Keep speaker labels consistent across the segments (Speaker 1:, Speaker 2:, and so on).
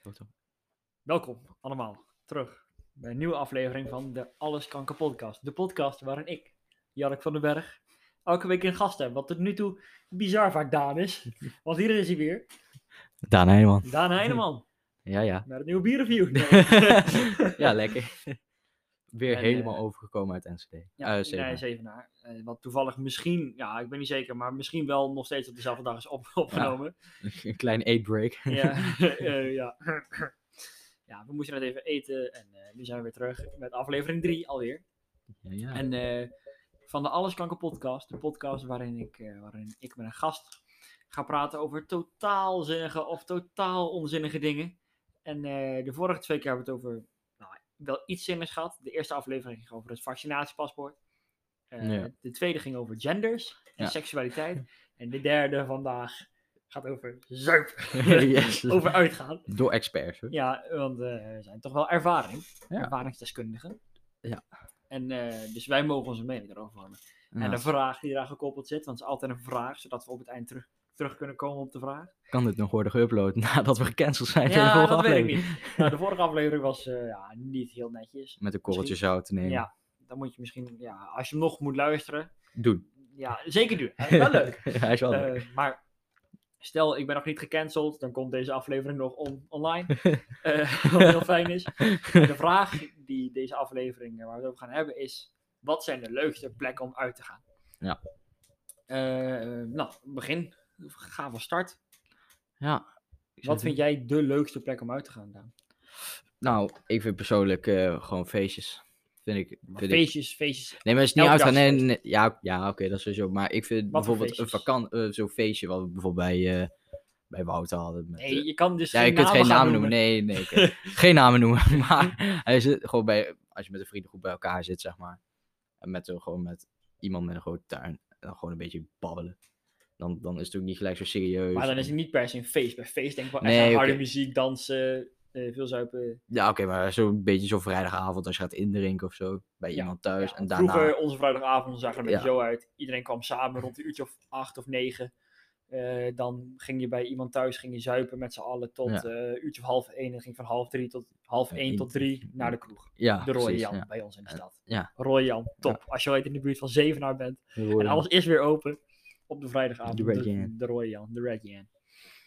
Speaker 1: Foto.
Speaker 2: Welkom allemaal terug bij een nieuwe aflevering van de Alles Kan podcast. De podcast waarin ik, Jark van den Berg, elke week een gast heb. Wat tot nu toe bizar vaak Daan is. Want hier is hij weer,
Speaker 1: Daan Heijman.
Speaker 2: Daan Heineman.
Speaker 1: Ja, ja.
Speaker 2: Met een nieuwe bierreview.
Speaker 1: ja, lekker. Weer
Speaker 2: En,
Speaker 1: helemaal
Speaker 2: eh,
Speaker 1: overgekomen uit NCD.
Speaker 2: Ja,
Speaker 1: Eh,
Speaker 2: uh,
Speaker 1: Zevenaar.
Speaker 2: Zevenaar. Eh, wat toevallig misschien, ja, ik ben niet zeker, maar misschien wel nog steeds op dezelfde dag is op- opgenomen.
Speaker 1: Een klein eetbreak.
Speaker 2: Ja, eh, ja. ja, we moesten net even eten en eh, nu zijn we weer terug met aflevering 3 alweer.
Speaker 1: Ja, ja.
Speaker 2: En eh, van de Alles Kanker podcast, de podcast waarin ik, eh, waarin ik met een gast ga praten over totaal zinnige of totaal onzinnige dingen. En eh, de vorige twee keer hebben we het over nou, wel iets zinnigs gehad. De eerste aflevering ging over het vaccinatiepaspoort. Eh,
Speaker 1: Ja.
Speaker 2: De tweede ging over genders en
Speaker 1: Ja.
Speaker 2: seksualiteit. En de derde vandaag gaat over zuip.
Speaker 1: Yes.
Speaker 2: over uitgaan.
Speaker 1: Door experts. hoor.
Speaker 2: Ja, want eh, we zijn toch wel ervaring.
Speaker 1: Ja.
Speaker 2: Ervaringsdeskundigen.
Speaker 1: Ja.
Speaker 2: En eh, dus wij mogen onze mening erover vormen. En
Speaker 1: Nou,
Speaker 2: de vraag die eraan gekoppeld zit, want het is altijd een vraag, zodat we op het eind terug, terug kunnen komen op de vraag.
Speaker 1: Kan dit nog worden geüpload nadat we gecanceld zijn? in de
Speaker 2: ja,
Speaker 1: vorige
Speaker 2: dat weet ik
Speaker 1: aflevering?
Speaker 2: niet. Nou, de vorige aflevering was eh, ja, niet heel netjes.
Speaker 1: Met een korreltje
Speaker 2: Misschien.
Speaker 1: zout te nemen.
Speaker 2: Ja, dan moet je misschien, ja, als je hem nog moet luisteren,
Speaker 1: Doen.
Speaker 2: ja, zeker doen. Hij is Wel leuk.
Speaker 1: Hij is wel leuk.
Speaker 2: Eh, maar stel, ik ben nog niet gecanceld, dan komt deze aflevering nog on- online. Eh, wat heel fijn is. En de vraag die deze aflevering eh, waar we het over gaan hebben is: wat zijn de leukste plekken om uit te gaan?
Speaker 1: Ja.
Speaker 2: Eh, nou, begin. Ga van start.
Speaker 1: Ja.
Speaker 2: Wat vind jij de leukste plek om uit te gaan? Daan?
Speaker 1: Nou, ik vind persoonlijk eh, gewoon feestjes. Vind ik, vind ik
Speaker 2: Feestjes, feestjes.
Speaker 1: Nee, maar het is niet
Speaker 2: Elke
Speaker 1: uitgaan.
Speaker 2: dag
Speaker 1: Nee,
Speaker 2: is
Speaker 1: nee, nee. ja, ja oké, dat is sowieso. Maar ik vind
Speaker 2: Wat voor
Speaker 1: bijvoorbeeld een
Speaker 2: feestjes?
Speaker 1: vakant, eh, zo'n feestje wat we bijvoorbeeld bij, eh, bij Wouter hadden. Met, eh,
Speaker 2: Nee, je kan dus
Speaker 1: ja,
Speaker 2: geen
Speaker 1: je kunt
Speaker 2: namen
Speaker 1: geen
Speaker 2: gaan
Speaker 1: namen noemen. Nee, nee, oké. geen namen noemen. Maar hij zit gewoon bij, als je met een vriendengroep bij elkaar zit, zeg maar. En met eh, gewoon met iemand met een grote tuin. En dan gewoon een beetje babbelen. Dan, dan is het ook niet gelijk zo serieus.
Speaker 2: Maar dan is het niet per se een feest. Bij feest denk ik wel echt
Speaker 1: Nee,
Speaker 2: aan harde
Speaker 1: oké.
Speaker 2: muziek, dansen, eh, veel zuipen.
Speaker 1: Ja, oké, maar zo'n beetje zo'n vrijdagavond als je gaat indrinken of zo. Bij
Speaker 2: Ja,
Speaker 1: iemand thuis. en
Speaker 2: Ja, want
Speaker 1: daarna...
Speaker 2: Vroeger, onze vrijdagavond, zag er een beetje
Speaker 1: Ja.
Speaker 2: zo uit. Iedereen kwam samen rond een uurtje of acht of negen. Eh, dan ging je bij iemand thuis, ging je zuipen met z'n allen tot
Speaker 1: Ja.
Speaker 2: eh uurtje of half één. En ging van half drie tot half
Speaker 1: Ja,
Speaker 2: één
Speaker 1: één
Speaker 2: tot
Speaker 1: tot
Speaker 2: drie
Speaker 1: drie.
Speaker 2: naar de kroeg.
Speaker 1: ja,
Speaker 2: De Royal
Speaker 1: precies,
Speaker 2: Jan,
Speaker 1: ja. Eh,
Speaker 2: bij ons in de stad.
Speaker 1: ja.
Speaker 2: Royal Jan, top. Als je ooit in de buurt van Zevenaar bent en alles is weer open op de vrijdagavond.
Speaker 1: De Red
Speaker 2: de,
Speaker 1: Jan.
Speaker 2: de Royal Jan, de Red Jan.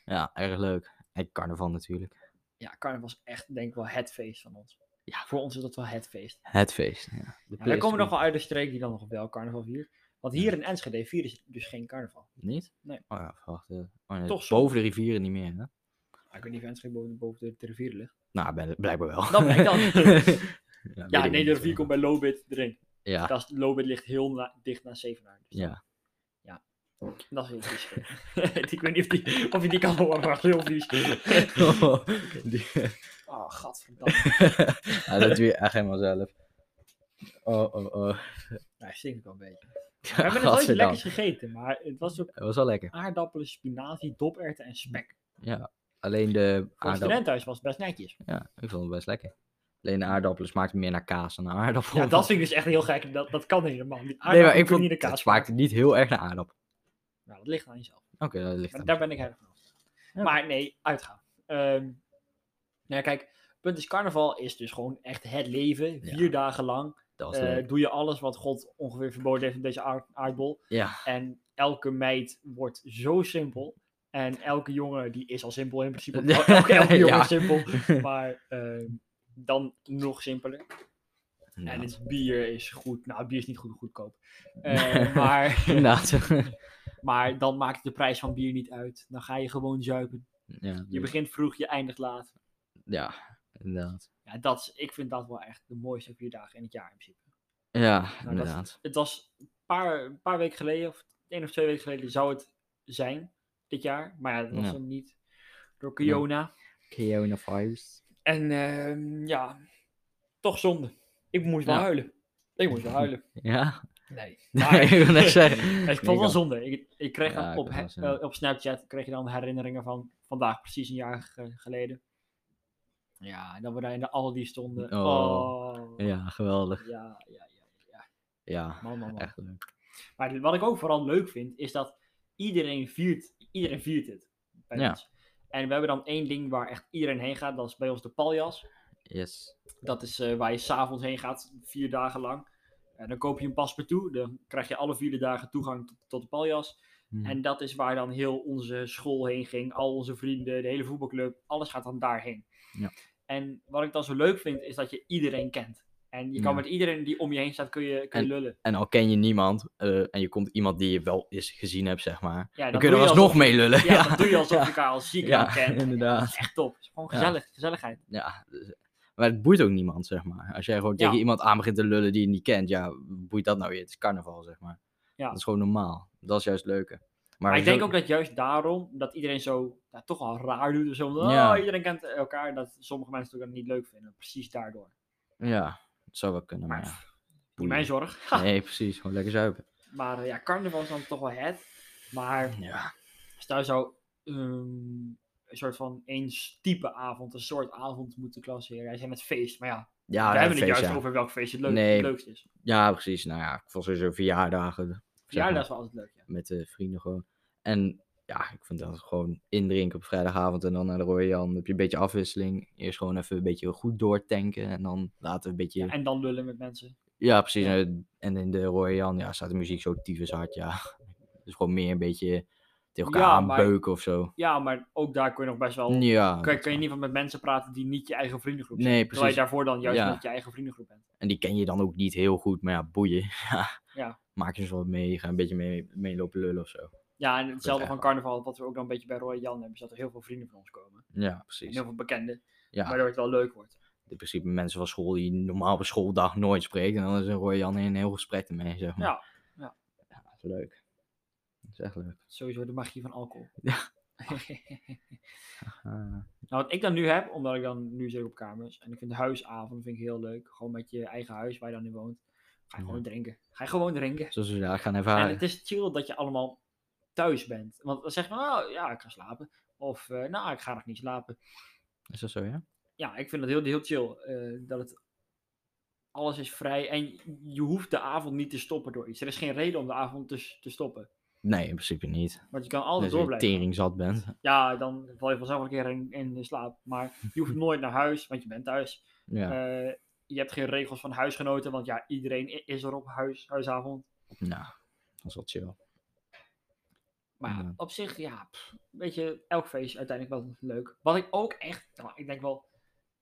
Speaker 1: Ja, erg leuk. En carnaval natuurlijk.
Speaker 2: Ja, carnaval is echt denk ik wel het feest van ons.
Speaker 1: Ja.
Speaker 2: Voor ons is dat wel het feest.
Speaker 1: Het feest. Ja. De
Speaker 2: Ja, wij komen nog wel uit de streek die dan nog wel carnaval viert. Want
Speaker 1: Ja.
Speaker 2: hier in Enschede vieren ze dus geen carnaval.
Speaker 1: Niet?
Speaker 2: Nee.
Speaker 1: Oh ja, wacht. eh, Oh, nee,
Speaker 2: Toch zo.
Speaker 1: boven de rivieren niet meer, hè?
Speaker 2: Maar Ah, ik weet niet of Enschede boven, boven de, de rivier ligt.
Speaker 1: Nou, bl- blijkbaar wel.
Speaker 2: Dat blijkt dan.
Speaker 1: ja,
Speaker 2: Ja,
Speaker 1: weet ik
Speaker 2: nee, de
Speaker 1: niet.
Speaker 2: rivier komt bij Lobit erin.
Speaker 1: Ja,
Speaker 2: Dat is- Lobit ligt heel na- dicht naar Zevenaar. Dus
Speaker 1: ja.
Speaker 2: Dat is heel vies. ik weet niet of, die, of je die kan horen, maar dat is heel vies.
Speaker 1: Die-
Speaker 2: Oh, gadverdamme.
Speaker 1: ja, dat doe je echt helemaal zelf. Oh, oh, oh.
Speaker 2: Nou, ik stink ook wel een beetje.
Speaker 1: We
Speaker 2: We hebben nog nooit iets lekkers gegeten, maar het was ook
Speaker 1: Dat was wel lekker.
Speaker 2: aardappelen, spinazie, doperwten en spek.
Speaker 1: Alleen de
Speaker 2: Voor het
Speaker 1: aardappelen.
Speaker 2: studentenhuis was het best netjes.
Speaker 1: Ja, ik vond het best lekker. Alleen de aardappelen smaakten meer naar kaas dan naar aardappel.
Speaker 2: Ja, dat vind ik dus echt heel gek. Dat, dat kan helemaal niet.
Speaker 1: Nee, maar ik
Speaker 2: Aardappelen kunnen
Speaker 1: vond
Speaker 2: niet in de
Speaker 1: het
Speaker 2: kaas
Speaker 1: smaakte niet heel erg naar aardappel.
Speaker 2: maken. Nou, dat ligt aan jezelf.
Speaker 1: Oké, dat ligt
Speaker 2: Maar
Speaker 1: aan.
Speaker 2: daar ben ik heilig van.
Speaker 1: Ja.
Speaker 2: Maar nee, uitgaan. Ehm nou ja, kijk, het punt is, carnaval is dus gewoon echt het leven.
Speaker 1: Ja.
Speaker 2: Vier dagen lang
Speaker 1: Dat was
Speaker 2: eh,
Speaker 1: leuk.
Speaker 2: doe je alles wat God ongeveer verboden heeft in deze aard- aardbol.
Speaker 1: Ja,
Speaker 2: En elke meid wordt zo simpel. En elke jongen, die is al simpel in principe.
Speaker 1: Ja.
Speaker 2: Elke, elke jongen
Speaker 1: Ja.
Speaker 2: is simpel. Maar ehm, dan nog simpeler. En
Speaker 1: inderdaad.
Speaker 2: het bier is goed. Nou, het bier is niet goed goedkoop. Eh, maar,
Speaker 1: Nou. Inderdaad.
Speaker 2: maar dan maakt de prijs van bier niet uit. Dan ga je gewoon zuipen.
Speaker 1: Ja,
Speaker 2: Je
Speaker 1: dus-
Speaker 2: begint vroeg, je eindigt laat.
Speaker 1: ja, inderdaad.
Speaker 2: Ja, dat is, ik vind dat wel echt de mooiste vier dagen in het jaar in principe.
Speaker 1: Ja,
Speaker 2: dat-
Speaker 1: inderdaad.
Speaker 2: Het was een paar, een paar weken geleden, of één of twee weken geleden, zou het zijn dit jaar. Maar ja, dat was
Speaker 1: Ja.
Speaker 2: hem niet door Kiona.
Speaker 1: Coronavirus.
Speaker 2: En ehm, ja, toch zonde. Ik moest wel
Speaker 1: Ja.
Speaker 2: huilen. Ik moest wel huilen.
Speaker 1: Ja?
Speaker 2: Nee.
Speaker 1: Nee, ik wil net zeggen.
Speaker 2: ik vond het wel zonde. Ik, ik kreeg
Speaker 1: Ja,
Speaker 2: dan
Speaker 1: ik
Speaker 2: op,
Speaker 1: was wel
Speaker 2: he-
Speaker 1: zonde.
Speaker 2: eh, op Snapchat kreeg je dan herinneringen van vandaag, precies een jaar ge- geleden. Ja, en dat we daar in de Aldi stonden.
Speaker 1: Oh.
Speaker 2: Oh.
Speaker 1: Ja, geweldig.
Speaker 2: Ja, ja, ja, ja.
Speaker 1: Ja,
Speaker 2: Man, man, man.
Speaker 1: echt leuk.
Speaker 2: Maar wat ik ook vooral leuk vind, is dat iedereen viert, iedereen viert het. bij
Speaker 1: Ja.
Speaker 2: ons. En we hebben dan één ding waar echt iedereen heen gaat. Dat is bij ons de paljas.
Speaker 1: Yes.
Speaker 2: Dat is eh, waar je s'avonds heen gaat, vier dagen lang. En dan koop je een paspartout. Dan krijg je alle vier de dagen toegang tot, tot de paljas.
Speaker 1: Hm.
Speaker 2: En dat is waar dan heel onze school heen ging. Al onze vrienden, de hele voetbalclub. Alles gaat dan daarheen.
Speaker 1: Ja.
Speaker 2: En wat ik dan zo leuk vind, is dat je iedereen kent. En je kan
Speaker 1: Ja.
Speaker 2: met iedereen die om je heen staat, kun je, kun je lullen.
Speaker 1: En al ken je niemand eh, en je komt iemand die je wel eens gezien hebt, zeg maar.
Speaker 2: Ja,
Speaker 1: Dan
Speaker 2: dat
Speaker 1: kun je
Speaker 2: doe
Speaker 1: er
Speaker 2: alsof-
Speaker 1: alsnog mee lullen.
Speaker 2: Ja, dat doe je alsof je
Speaker 1: Ja.
Speaker 2: elkaar al ziek
Speaker 1: Ja,
Speaker 2: aan kent.
Speaker 1: inderdaad.
Speaker 2: Dat is echt top. Het is gewoon
Speaker 1: Ja.
Speaker 2: gezellig, gezelligheid.
Speaker 1: Ja, dus- maar het boeit ook niemand, zeg maar. Als jij gewoon tegen
Speaker 2: Ja.
Speaker 1: iemand aan begint te lullen die je niet kent, ja, boeit dat nou weer? Het is carnaval, zeg maar.
Speaker 2: Ja.
Speaker 1: Dat is gewoon normaal. Dat is juist het leuke.
Speaker 2: Maar, ik
Speaker 1: zo-
Speaker 2: denk ook dat juist daarom, dat iedereen zo ja, toch al raar doet. of Zo, van,
Speaker 1: Ja.
Speaker 2: oh, iedereen kent elkaar. Dat sommige mensen het ook niet leuk vinden. Precies daardoor.
Speaker 1: Ja, het zou wel kunnen, maar
Speaker 2: Maar
Speaker 1: ja.
Speaker 2: pff, Niet mijn zorg.
Speaker 1: boeien. Nee, precies. Gewoon lekker zuipen.
Speaker 2: Maar eh, ja, carnaval is dan toch wel het. Maar
Speaker 1: Ja.
Speaker 2: stel je zou ehm, een soort van één type avond, een soort avond moeten klasseren. Jij zei met feest, maar ja,
Speaker 1: Ja,
Speaker 2: we hebben
Speaker 1: feest,
Speaker 2: het juist
Speaker 1: ja.
Speaker 2: over welk feest het, leuk,
Speaker 1: Nee.
Speaker 2: het leukst is.
Speaker 1: Ja, precies. Nou ja, ik vond sowieso verjaardagen
Speaker 2: Ja,
Speaker 1: maar.
Speaker 2: dat is wel altijd leuk, ja.
Speaker 1: met de vrienden gewoon. En ja, ik vind dat gewoon indrinken op vrijdagavond en dan naar de Royal Jan. Dan heb je een beetje afwisseling. Eerst gewoon even een beetje goed doortanken en dan later een beetje...
Speaker 2: En dan lullen met mensen.
Speaker 1: Ja, precies.
Speaker 2: Ja.
Speaker 1: eh, En in de Royal Jan ja, staat de muziek zo tyfus hard, ja. Dus gewoon meer een beetje tegen elkaar
Speaker 2: Ja, maar-
Speaker 1: aanbeuken of zo.
Speaker 2: Ja, maar ook daar kun je nog best wel...
Speaker 1: Ja,
Speaker 2: Kan,
Speaker 1: dat-
Speaker 2: kan je in ieder geval met mensen praten die niet je eigen vriendengroep zijn.
Speaker 1: Nee,
Speaker 2: Terwijl je
Speaker 1: precies.
Speaker 2: daarvoor dan juist
Speaker 1: Ja.
Speaker 2: met je eigen vriendengroep bent.
Speaker 1: en die ken je dan ook niet heel goed, maar ja, boeien.
Speaker 2: Ja.
Speaker 1: Maak je eens wat mee, ga een beetje mee, mee lopen lullen of zo.
Speaker 2: Ja, en hetzelfde
Speaker 1: echt
Speaker 2: van
Speaker 1: wel.
Speaker 2: carnaval, wat we ook dan een beetje bij Roy Jan hebben, is dat er heel veel vrienden van ons komen.
Speaker 1: Ja,
Speaker 2: En
Speaker 1: precies.
Speaker 2: heel veel bekenden,
Speaker 1: Ja,
Speaker 2: waardoor het wel leuk wordt.
Speaker 1: in principe mensen van school die je normaal op een schooldag nooit spreekt. En dan is een Royal Jan een heel gesprek ermee, zeg maar.
Speaker 2: Ja.
Speaker 1: Ja, dat is leuk. Dat is echt leuk.
Speaker 2: Sowieso de magie van alcohol.
Speaker 1: Ja. Ah.
Speaker 2: Nou, wat ik dan nu heb, omdat ik dan nu zit ik op kamers. En ik vind de huisavond vind ik heel leuk. Gewoon met je eigen huis waar je dan in woont. Ga je
Speaker 1: Ja.
Speaker 2: gewoon drinken. Ga je gewoon drinken.
Speaker 1: zoals we daar gaan
Speaker 2: En
Speaker 1: ervaren.
Speaker 2: het is chill dat je allemaal thuis bent. Want dan zeg je van, nou ja, ik ga slapen. Of, eh, nou, ik ga nog niet slapen.
Speaker 1: Is dat zo, ja?
Speaker 2: Ja, ik vind het heel, heel chill. eh, dat het, alles is vrij. En je hoeft de avond niet te stoppen door iets. Er is geen reden om de avond te, te stoppen.
Speaker 1: Nee, in principe niet.
Speaker 2: Want je kan altijd
Speaker 1: Als
Speaker 2: door
Speaker 1: je
Speaker 2: blijven.
Speaker 1: tering zat bent.
Speaker 2: Ja, dan val je vanzelf een keer in, in de slaap. Maar je hoeft nooit naar huis, want je bent thuis.
Speaker 1: Ja.
Speaker 2: Eh, je hebt geen regels van huisgenoten, want ja, iedereen i- is er op huis, huisavond.
Speaker 1: Nou, dat is wel chill.
Speaker 2: Maar ja,
Speaker 1: Ja.
Speaker 2: op zich, ja, pff, weet je, elk feest is uiteindelijk wel leuk. Wat ik ook echt, nou, ik denk wel,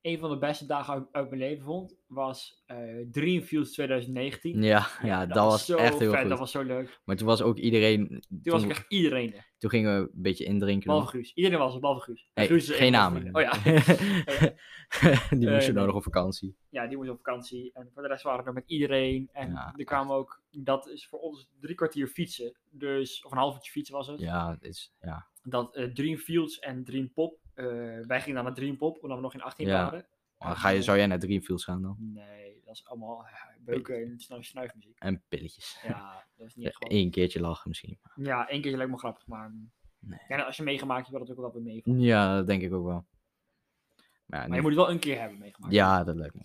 Speaker 2: een van de beste dagen uit, uit mijn leven vond, was eh Dreamfields 2019.
Speaker 1: Ja, ja, dat, was
Speaker 2: zo
Speaker 1: echt heel
Speaker 2: vet,
Speaker 1: goed.
Speaker 2: dat was zo leuk. Toen,
Speaker 1: Maar toen was ook iedereen... Toen,
Speaker 2: was ik echt iedereen er,
Speaker 1: toen gingen we een beetje indrinken.
Speaker 2: behalve
Speaker 1: nog.
Speaker 2: Guus. Iedereen was er, behalve Guus. En
Speaker 1: Hey,
Speaker 2: Guus is een
Speaker 1: geen
Speaker 2: van mijn
Speaker 1: namen.
Speaker 2: vrienden. Oh ja.
Speaker 1: Die
Speaker 2: Eh,
Speaker 1: moesten
Speaker 2: nee.
Speaker 1: nodig op vakantie.
Speaker 2: ja, die moest op vakantie. En voor de rest waren we er met iedereen. En
Speaker 1: Ja,
Speaker 2: er kwamen ook, dat is voor ons drie kwartier fietsen. Dus, of een half uurtje fietsen was het.
Speaker 1: Ja, het is... Ja.
Speaker 2: Dat eh, Dream Fields en Dream Pop. eh, wij gingen dan naar Dream Pop, omdat we nog in 18
Speaker 1: Ja.
Speaker 2: waren.
Speaker 1: Maar dan ga je, zou jij naar Dreamfields gaan dan?
Speaker 2: Nee, dat is allemaal eh, beuken en snu- snuifmuziek.
Speaker 1: En pilletjes.
Speaker 2: Ja, dat is niet
Speaker 1: Ja,
Speaker 2: echt gewoon.
Speaker 1: Eén keertje lachen misschien.
Speaker 2: Ja, één keertje leek me grappig, maar
Speaker 1: Nee.
Speaker 2: ja, nou, als je meegemaakt hebt, wil dat ook wel weer meevallen.
Speaker 1: Ja, dat denk ik ook wel. Maar ja,
Speaker 2: Maar je moet het wel een keer hebben meegemaakt.
Speaker 1: ja dat lijkt me.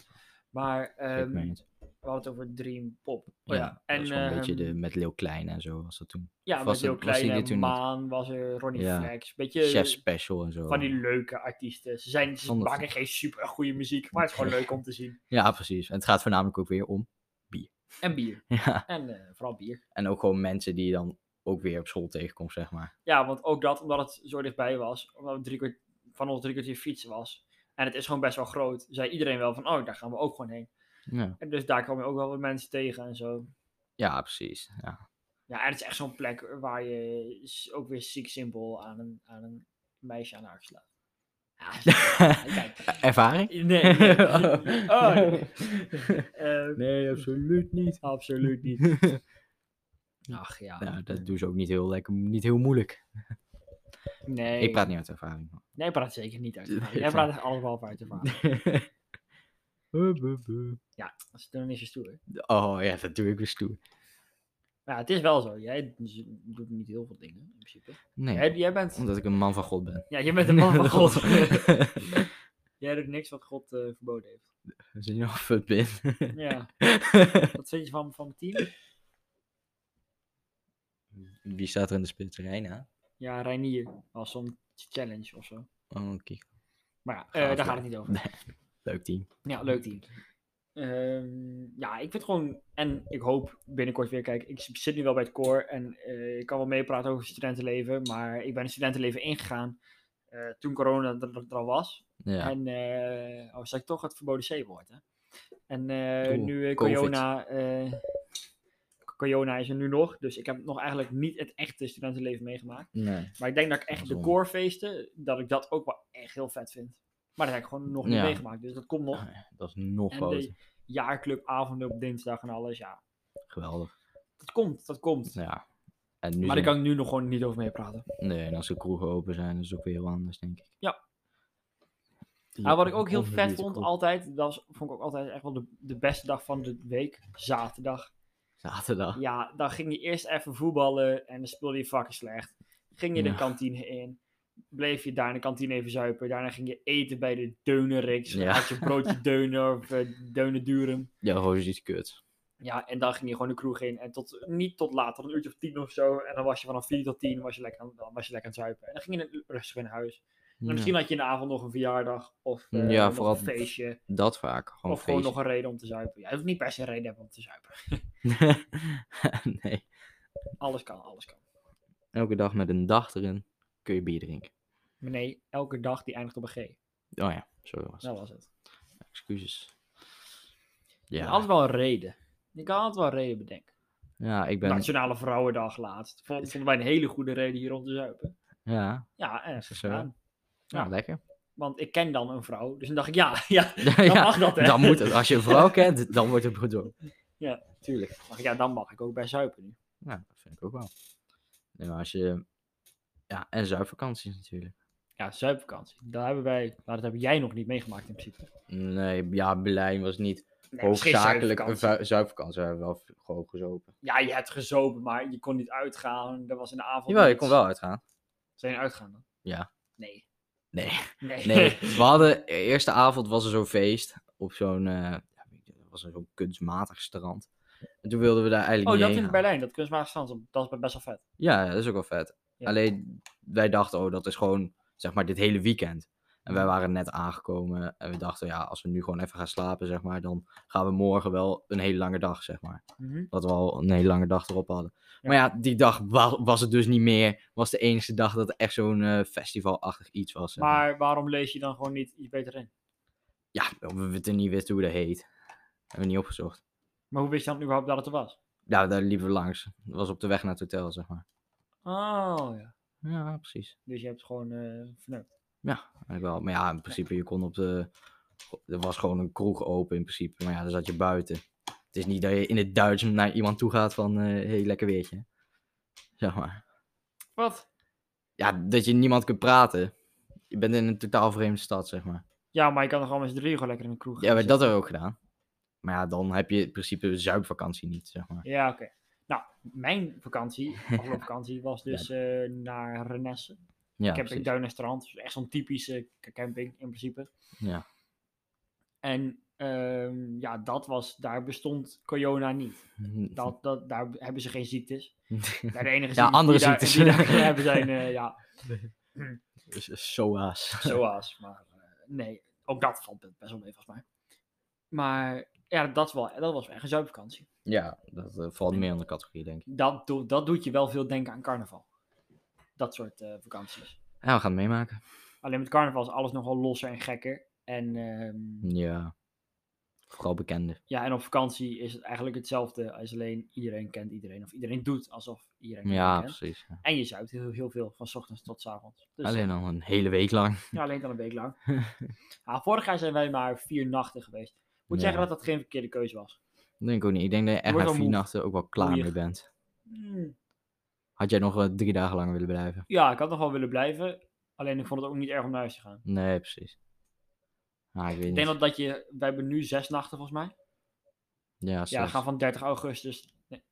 Speaker 2: Maar
Speaker 1: Geef
Speaker 2: ehm,
Speaker 1: mij
Speaker 2: we
Speaker 1: niet.
Speaker 2: hadden het over Dream Pop.
Speaker 1: Ja,
Speaker 2: Oh,
Speaker 1: en,
Speaker 2: En,
Speaker 1: dat was wel een beetje de,
Speaker 2: ehm,
Speaker 1: met Leeuw Klein en zo was dat toen.
Speaker 2: Ja, met
Speaker 1: was
Speaker 2: heel
Speaker 1: het- was die
Speaker 2: kleine
Speaker 1: er toen niet?
Speaker 2: Maan was er, Ronnie
Speaker 1: Ja.
Speaker 2: Flex. Beetje
Speaker 1: Chef Special en zo.
Speaker 2: van die leuke artiesten. Ze, zijn, ze
Speaker 1: Zonder
Speaker 2: maken
Speaker 1: vlees.
Speaker 2: geen super goede muziek, maar het is gewoon leuk om te zien.
Speaker 1: Ja, precies. En het gaat voornamelijk ook weer om.
Speaker 2: En bier.
Speaker 1: Ja.
Speaker 2: En eh, vooral bier.
Speaker 1: En ook gewoon mensen die je dan ook weer op school tegenkomt, zeg maar.
Speaker 2: Ja, want ook dat, omdat het zo dichtbij was, omdat het drie kwart- van ons drie kwartier fietsen was. En het is gewoon best wel groot. Zei iedereen wel van, oh, daar gaan we ook gewoon heen.
Speaker 1: Ja,
Speaker 2: En dus daar kwam je ook wel wat mensen tegen en zo.
Speaker 1: ja precies. Ja.
Speaker 2: Ja, en het is echt zo'n plek waar je s- ook weer ziek symbool aan een, aan een meisje aan de haak slaat. Ja, kijk.
Speaker 1: Ervaring?
Speaker 2: Nee, nee. Oh, nee. Eh,
Speaker 1: nee, absoluut niet.
Speaker 2: Absoluut niet. Ach ja.
Speaker 1: Nou, dat doen ze ook niet heel lekker, niet heel moeilijk.
Speaker 2: Nee.
Speaker 1: Ik praat niet uit ervaring.
Speaker 2: Nee, ik praat zeker niet uit. ervaring.
Speaker 1: Nee,
Speaker 2: Jij
Speaker 1: ik praat-
Speaker 2: praat alles behalve uit ervaring.
Speaker 1: Buh, buh, buh.
Speaker 2: Dat is dan is je stoer.
Speaker 1: Oh ja, dat doe ik weer stoer.
Speaker 2: Maar ja, het is wel zo. Jij z- doet niet heel veel dingen in principe.
Speaker 1: Nee,
Speaker 2: Jij, jij bent,
Speaker 1: omdat ik een man van God ben.
Speaker 2: ja, jij bent een man van God.
Speaker 1: Dat
Speaker 2: jij doet niks wat God eh, verboden heeft.
Speaker 1: is niet nog fut bin.
Speaker 2: Ja. Wat vind je van, van het team?
Speaker 1: Wie staat er in de spits? Reina?
Speaker 2: Ja, Reinier was zo'n Challenge of zo.
Speaker 1: Oh, kijk.
Speaker 2: Maar ja,
Speaker 1: Gaaf,
Speaker 2: eh, daar
Speaker 1: ja.
Speaker 2: gaat het niet over.
Speaker 1: Leuk team.
Speaker 2: Ja, leuk team. Ehm, ja, ik vind het gewoon. En ik hoop binnenkort weer. Kijk, ik zit nu wel bij het koor. En eh, ik kan wel meepraten over studentenleven. Maar ik ben het studentenleven ingegaan. eh, toen corona er, er al was.
Speaker 1: Ja.
Speaker 2: En. eh oh, zeg ik toch het verboden C-woord. Hè? En eh,
Speaker 1: Oeh,
Speaker 2: nu. eh,
Speaker 1: COVID.
Speaker 2: corona. eh, corona is er nu nog. Dus ik heb nog eigenlijk niet het echte studentenleven meegemaakt.
Speaker 1: Nee.
Speaker 2: Maar ik denk dat
Speaker 1: Dat
Speaker 2: ik echt
Speaker 1: is
Speaker 2: de
Speaker 1: wel-
Speaker 2: koorfeesten. Dat ik dat ook wel echt heel vet vind. Maar dat heb ik gewoon nog niet
Speaker 1: Ja.
Speaker 2: meegemaakt. Dus dat komt nog.
Speaker 1: Dat is nog
Speaker 2: En
Speaker 1: groter.
Speaker 2: de jaarclubavonden op dinsdag en alles, ja.
Speaker 1: Geweldig.
Speaker 2: Dat komt, dat komt.
Speaker 1: Ja. En nu
Speaker 2: maar daar
Speaker 1: zijn-
Speaker 2: kan ik nu nog gewoon niet over meepraten.
Speaker 1: Nee, en als de kroegen open zijn, is het ook weer heel anders, denk ik.
Speaker 2: Ja.
Speaker 1: Die
Speaker 2: Maar Nou, wat ik ook heel vet
Speaker 1: overduurde
Speaker 2: vond
Speaker 1: kroeg.
Speaker 2: altijd, dat was, vond ik ook altijd echt wel de, de beste dag van de week, zaterdag.
Speaker 1: Zaterdag.
Speaker 2: Ja, dan ging je eerst even voetballen en dan speelde je fucking slecht. Ging je de
Speaker 1: Ja.
Speaker 2: kantine in, bleef je daar in de kantine even zuipen. Daarna ging je eten bij de Deuneriks,
Speaker 1: Ja.
Speaker 2: had je een broodje Deuner of eh, Deunen Durum.
Speaker 1: Ja, gewoon iets kuts.
Speaker 2: Ja, en dan ging je gewoon de kroeg in. En tot, niet tot later, een uurtje of tien of zo. En dan was je vanaf vier tot tien, was je lekker aan, dan was je lekker aan het zuipen. En dan ging je rustig weer naar huis. En
Speaker 1: Ja.
Speaker 2: misschien had je in de avond nog een verjaardag. Of eh,
Speaker 1: Ja,
Speaker 2: nog
Speaker 1: vooral
Speaker 2: een feestje.
Speaker 1: Dat vaak. Gewoon
Speaker 2: of gewoon nog
Speaker 1: feestje.
Speaker 2: een reden om te zuipen. Ja, je hoeft niet per se een reden te hebben om te zuipen.
Speaker 1: nee.
Speaker 2: Alles kan, alles kan.
Speaker 1: Elke dag met een dag erin kun je bier drinken.
Speaker 2: Maar nee, elke dag die eindigt op een G.
Speaker 1: Oh ja, sorry was
Speaker 2: Dat was het.
Speaker 1: het. Excuses.
Speaker 2: Je had
Speaker 1: Ja,
Speaker 2: altijd wel een reden. Je kan altijd wel een reden bedenken.
Speaker 1: ja ik ben...
Speaker 2: Nationale Vrouwendag laatst. Vond, vonden wij een hele goede reden hier om te zuipen.
Speaker 1: Ja,
Speaker 2: Ja, en
Speaker 1: Is dat zo?
Speaker 2: gedaan.
Speaker 1: ja,
Speaker 2: Ja.
Speaker 1: lekker.
Speaker 2: Want ik ken dan een vrouw. Dus dan dacht ik, ja, ja,
Speaker 1: Ja,
Speaker 2: dan mag dat hè.
Speaker 1: dan moet het. Als je een vrouw kent, dan wordt het bedoeld.
Speaker 2: Ja.
Speaker 1: tuurlijk.
Speaker 2: Maar ja, dan mag ik ook bij zuipen nu.
Speaker 1: Ja, dat vind ik ook wel. Nee, maar als je... Ja, en zuipvakanties natuurlijk.
Speaker 2: Ja, zuipvakantie. Daar hebben wij, maar dat heb jij nog niet meegemaakt in principe.
Speaker 1: Nee, ja, Berlijn was niet
Speaker 2: Nee,
Speaker 1: hoofdzakelijk een
Speaker 2: misschien
Speaker 1: vu-
Speaker 2: zuipvakantie.
Speaker 1: zuipvakantie. We hebben wel gewoon gezopen.
Speaker 2: Ja, je hebt gezopen, maar je kon niet uitgaan. Dat was in de avond.
Speaker 1: Jawel, je
Speaker 2: niets.
Speaker 1: kon wel uitgaan.
Speaker 2: Zijn je uitgaan dan?
Speaker 1: Ja.
Speaker 2: Nee.
Speaker 1: Nee.
Speaker 2: Nee.
Speaker 1: Nee, we hadden, de eerste avond was er zo'n feest op zo'n, eh, ja, weet je, dat was een zo'n kunstmatig strand. En toen wilden we daar eigenlijk
Speaker 2: oh,
Speaker 1: niet
Speaker 2: dat
Speaker 1: heen
Speaker 2: in
Speaker 1: gaan.
Speaker 2: Berlijn, dat kunstmatig strand, dat is best wel vet.
Speaker 1: Ja, dat is ook wel vet.
Speaker 2: Ja.
Speaker 1: Alleen, wij dachten, oh, dat is gewoon, zeg maar, dit hele weekend. En wij waren net aangekomen en we dachten, ja, als we nu gewoon even gaan slapen, zeg maar, dan gaan we morgen wel een hele lange dag, zeg maar.
Speaker 2: Mhm.
Speaker 1: Dat we al een hele lange dag erop hadden.
Speaker 2: Ja.
Speaker 1: Maar ja, dus, die dag wa- was het dus niet meer. Was de enige dag dat er echt zo'n eh, festivalachtig iets was. zeg
Speaker 2: Maar waarom lees je dan gewoon niet iets beter in?
Speaker 1: Ja, we weten niet wisten hoe dat heet. Hebben we niet opgezocht.
Speaker 2: Maar hoe wist je dan überhaupt dat het er was?
Speaker 1: Ja, daar liepen we langs. Dat was op de weg naar het hotel, zeg maar.
Speaker 2: Oh, ja.
Speaker 1: Ja, precies.
Speaker 2: Dus je hebt gewoon eh verneukt.
Speaker 1: Ja, eigenlijk wel. Maar ja, in principe, je kon op de... Er was gewoon een kroeg open in principe. Maar ja, daar zat je buiten. Het is niet dat je in het Duits naar iemand toe gaat van... eh hey, lekker weertje. hè. Zeg maar.
Speaker 2: Wat?
Speaker 1: Ja, dat je niemand kunt praten. Je bent in een totaal vreemde stad, zeg maar.
Speaker 2: Ja, maar je kan toch gewoon met z'n drieën gewoon lekker in de kroeg
Speaker 1: Ja, maar
Speaker 2: gaan
Speaker 1: dat hebben we ook gedaan. Maar ja, dan heb je in principe zuipvakantie niet, zeg maar.
Speaker 2: Ja, oké. Nou, mijn vakantie, afgelopen vakantie, was
Speaker 1: Ja.
Speaker 2: dus eh, naar Renesse.
Speaker 1: Ja,
Speaker 2: camping
Speaker 1: precies.
Speaker 2: Duin en Strand. Dus echt zo'n typische k- camping in principe.
Speaker 1: Ja.
Speaker 2: En ehm, ja, dat was, daar bestond corona niet. Dat, dat, daar hebben ze geen ziektes. Ja, de enige ziekte
Speaker 1: andere
Speaker 2: die daar-
Speaker 1: ziektes.
Speaker 2: die daar kunnen hebben zijn, eh, ja,
Speaker 1: Dus, eh, Soa's.
Speaker 2: zoals. Maar eh, nee, ook dat valt best wel mee volgens mij. Maar ja, dat, wel, dat was echt een zuipvakantie.
Speaker 1: Ja, dat eh, valt meer in de categorie, denk ik.
Speaker 2: dat, doe- dat doet je wel veel denken aan carnaval. Dat soort eh, vakanties.
Speaker 1: Ja, we gaan het meemaken.
Speaker 2: Alleen met carnaval is alles nogal losser en gekker. En, ehm,
Speaker 1: Ja. Vooral bekende.
Speaker 2: ja, en op vakantie is het eigenlijk hetzelfde. Als alleen iedereen kent iedereen. Of iedereen doet alsof iedereen iedereen
Speaker 1: Ja,
Speaker 2: kent.
Speaker 1: precies. ja.
Speaker 2: En je zuipt heel, heel veel van 's ochtends tot 's avonds. Dus
Speaker 1: Alleen al een hele week lang.
Speaker 2: ja, alleen dan een week lang. ja, vorig jaar zijn wij maar vier nachten geweest. Ik moet
Speaker 1: Ja.
Speaker 2: zeggen dat dat geen verkeerde keuze was.
Speaker 1: Dat denk ik ook niet. Ik denk dat je echt
Speaker 2: Wordt
Speaker 1: na
Speaker 2: al
Speaker 1: vier
Speaker 2: moe.
Speaker 1: nachten ook wel klaar
Speaker 2: Moeier.
Speaker 1: mee bent.
Speaker 2: Hmm,
Speaker 1: Had jij nog eh, drie dagen lang willen blijven?
Speaker 2: Ja, ik had nog wel willen blijven. Alleen ik vond het ook niet erg om naar huis te gaan.
Speaker 1: Nee, precies. Ah, ik weet
Speaker 2: Ik
Speaker 1: niet.
Speaker 2: denk dat, dat je... Wij hebben nu zes nachten volgens mij.
Speaker 1: Ja,
Speaker 2: Ja, we
Speaker 1: zes.
Speaker 2: gaan van 30 augustus. Nee,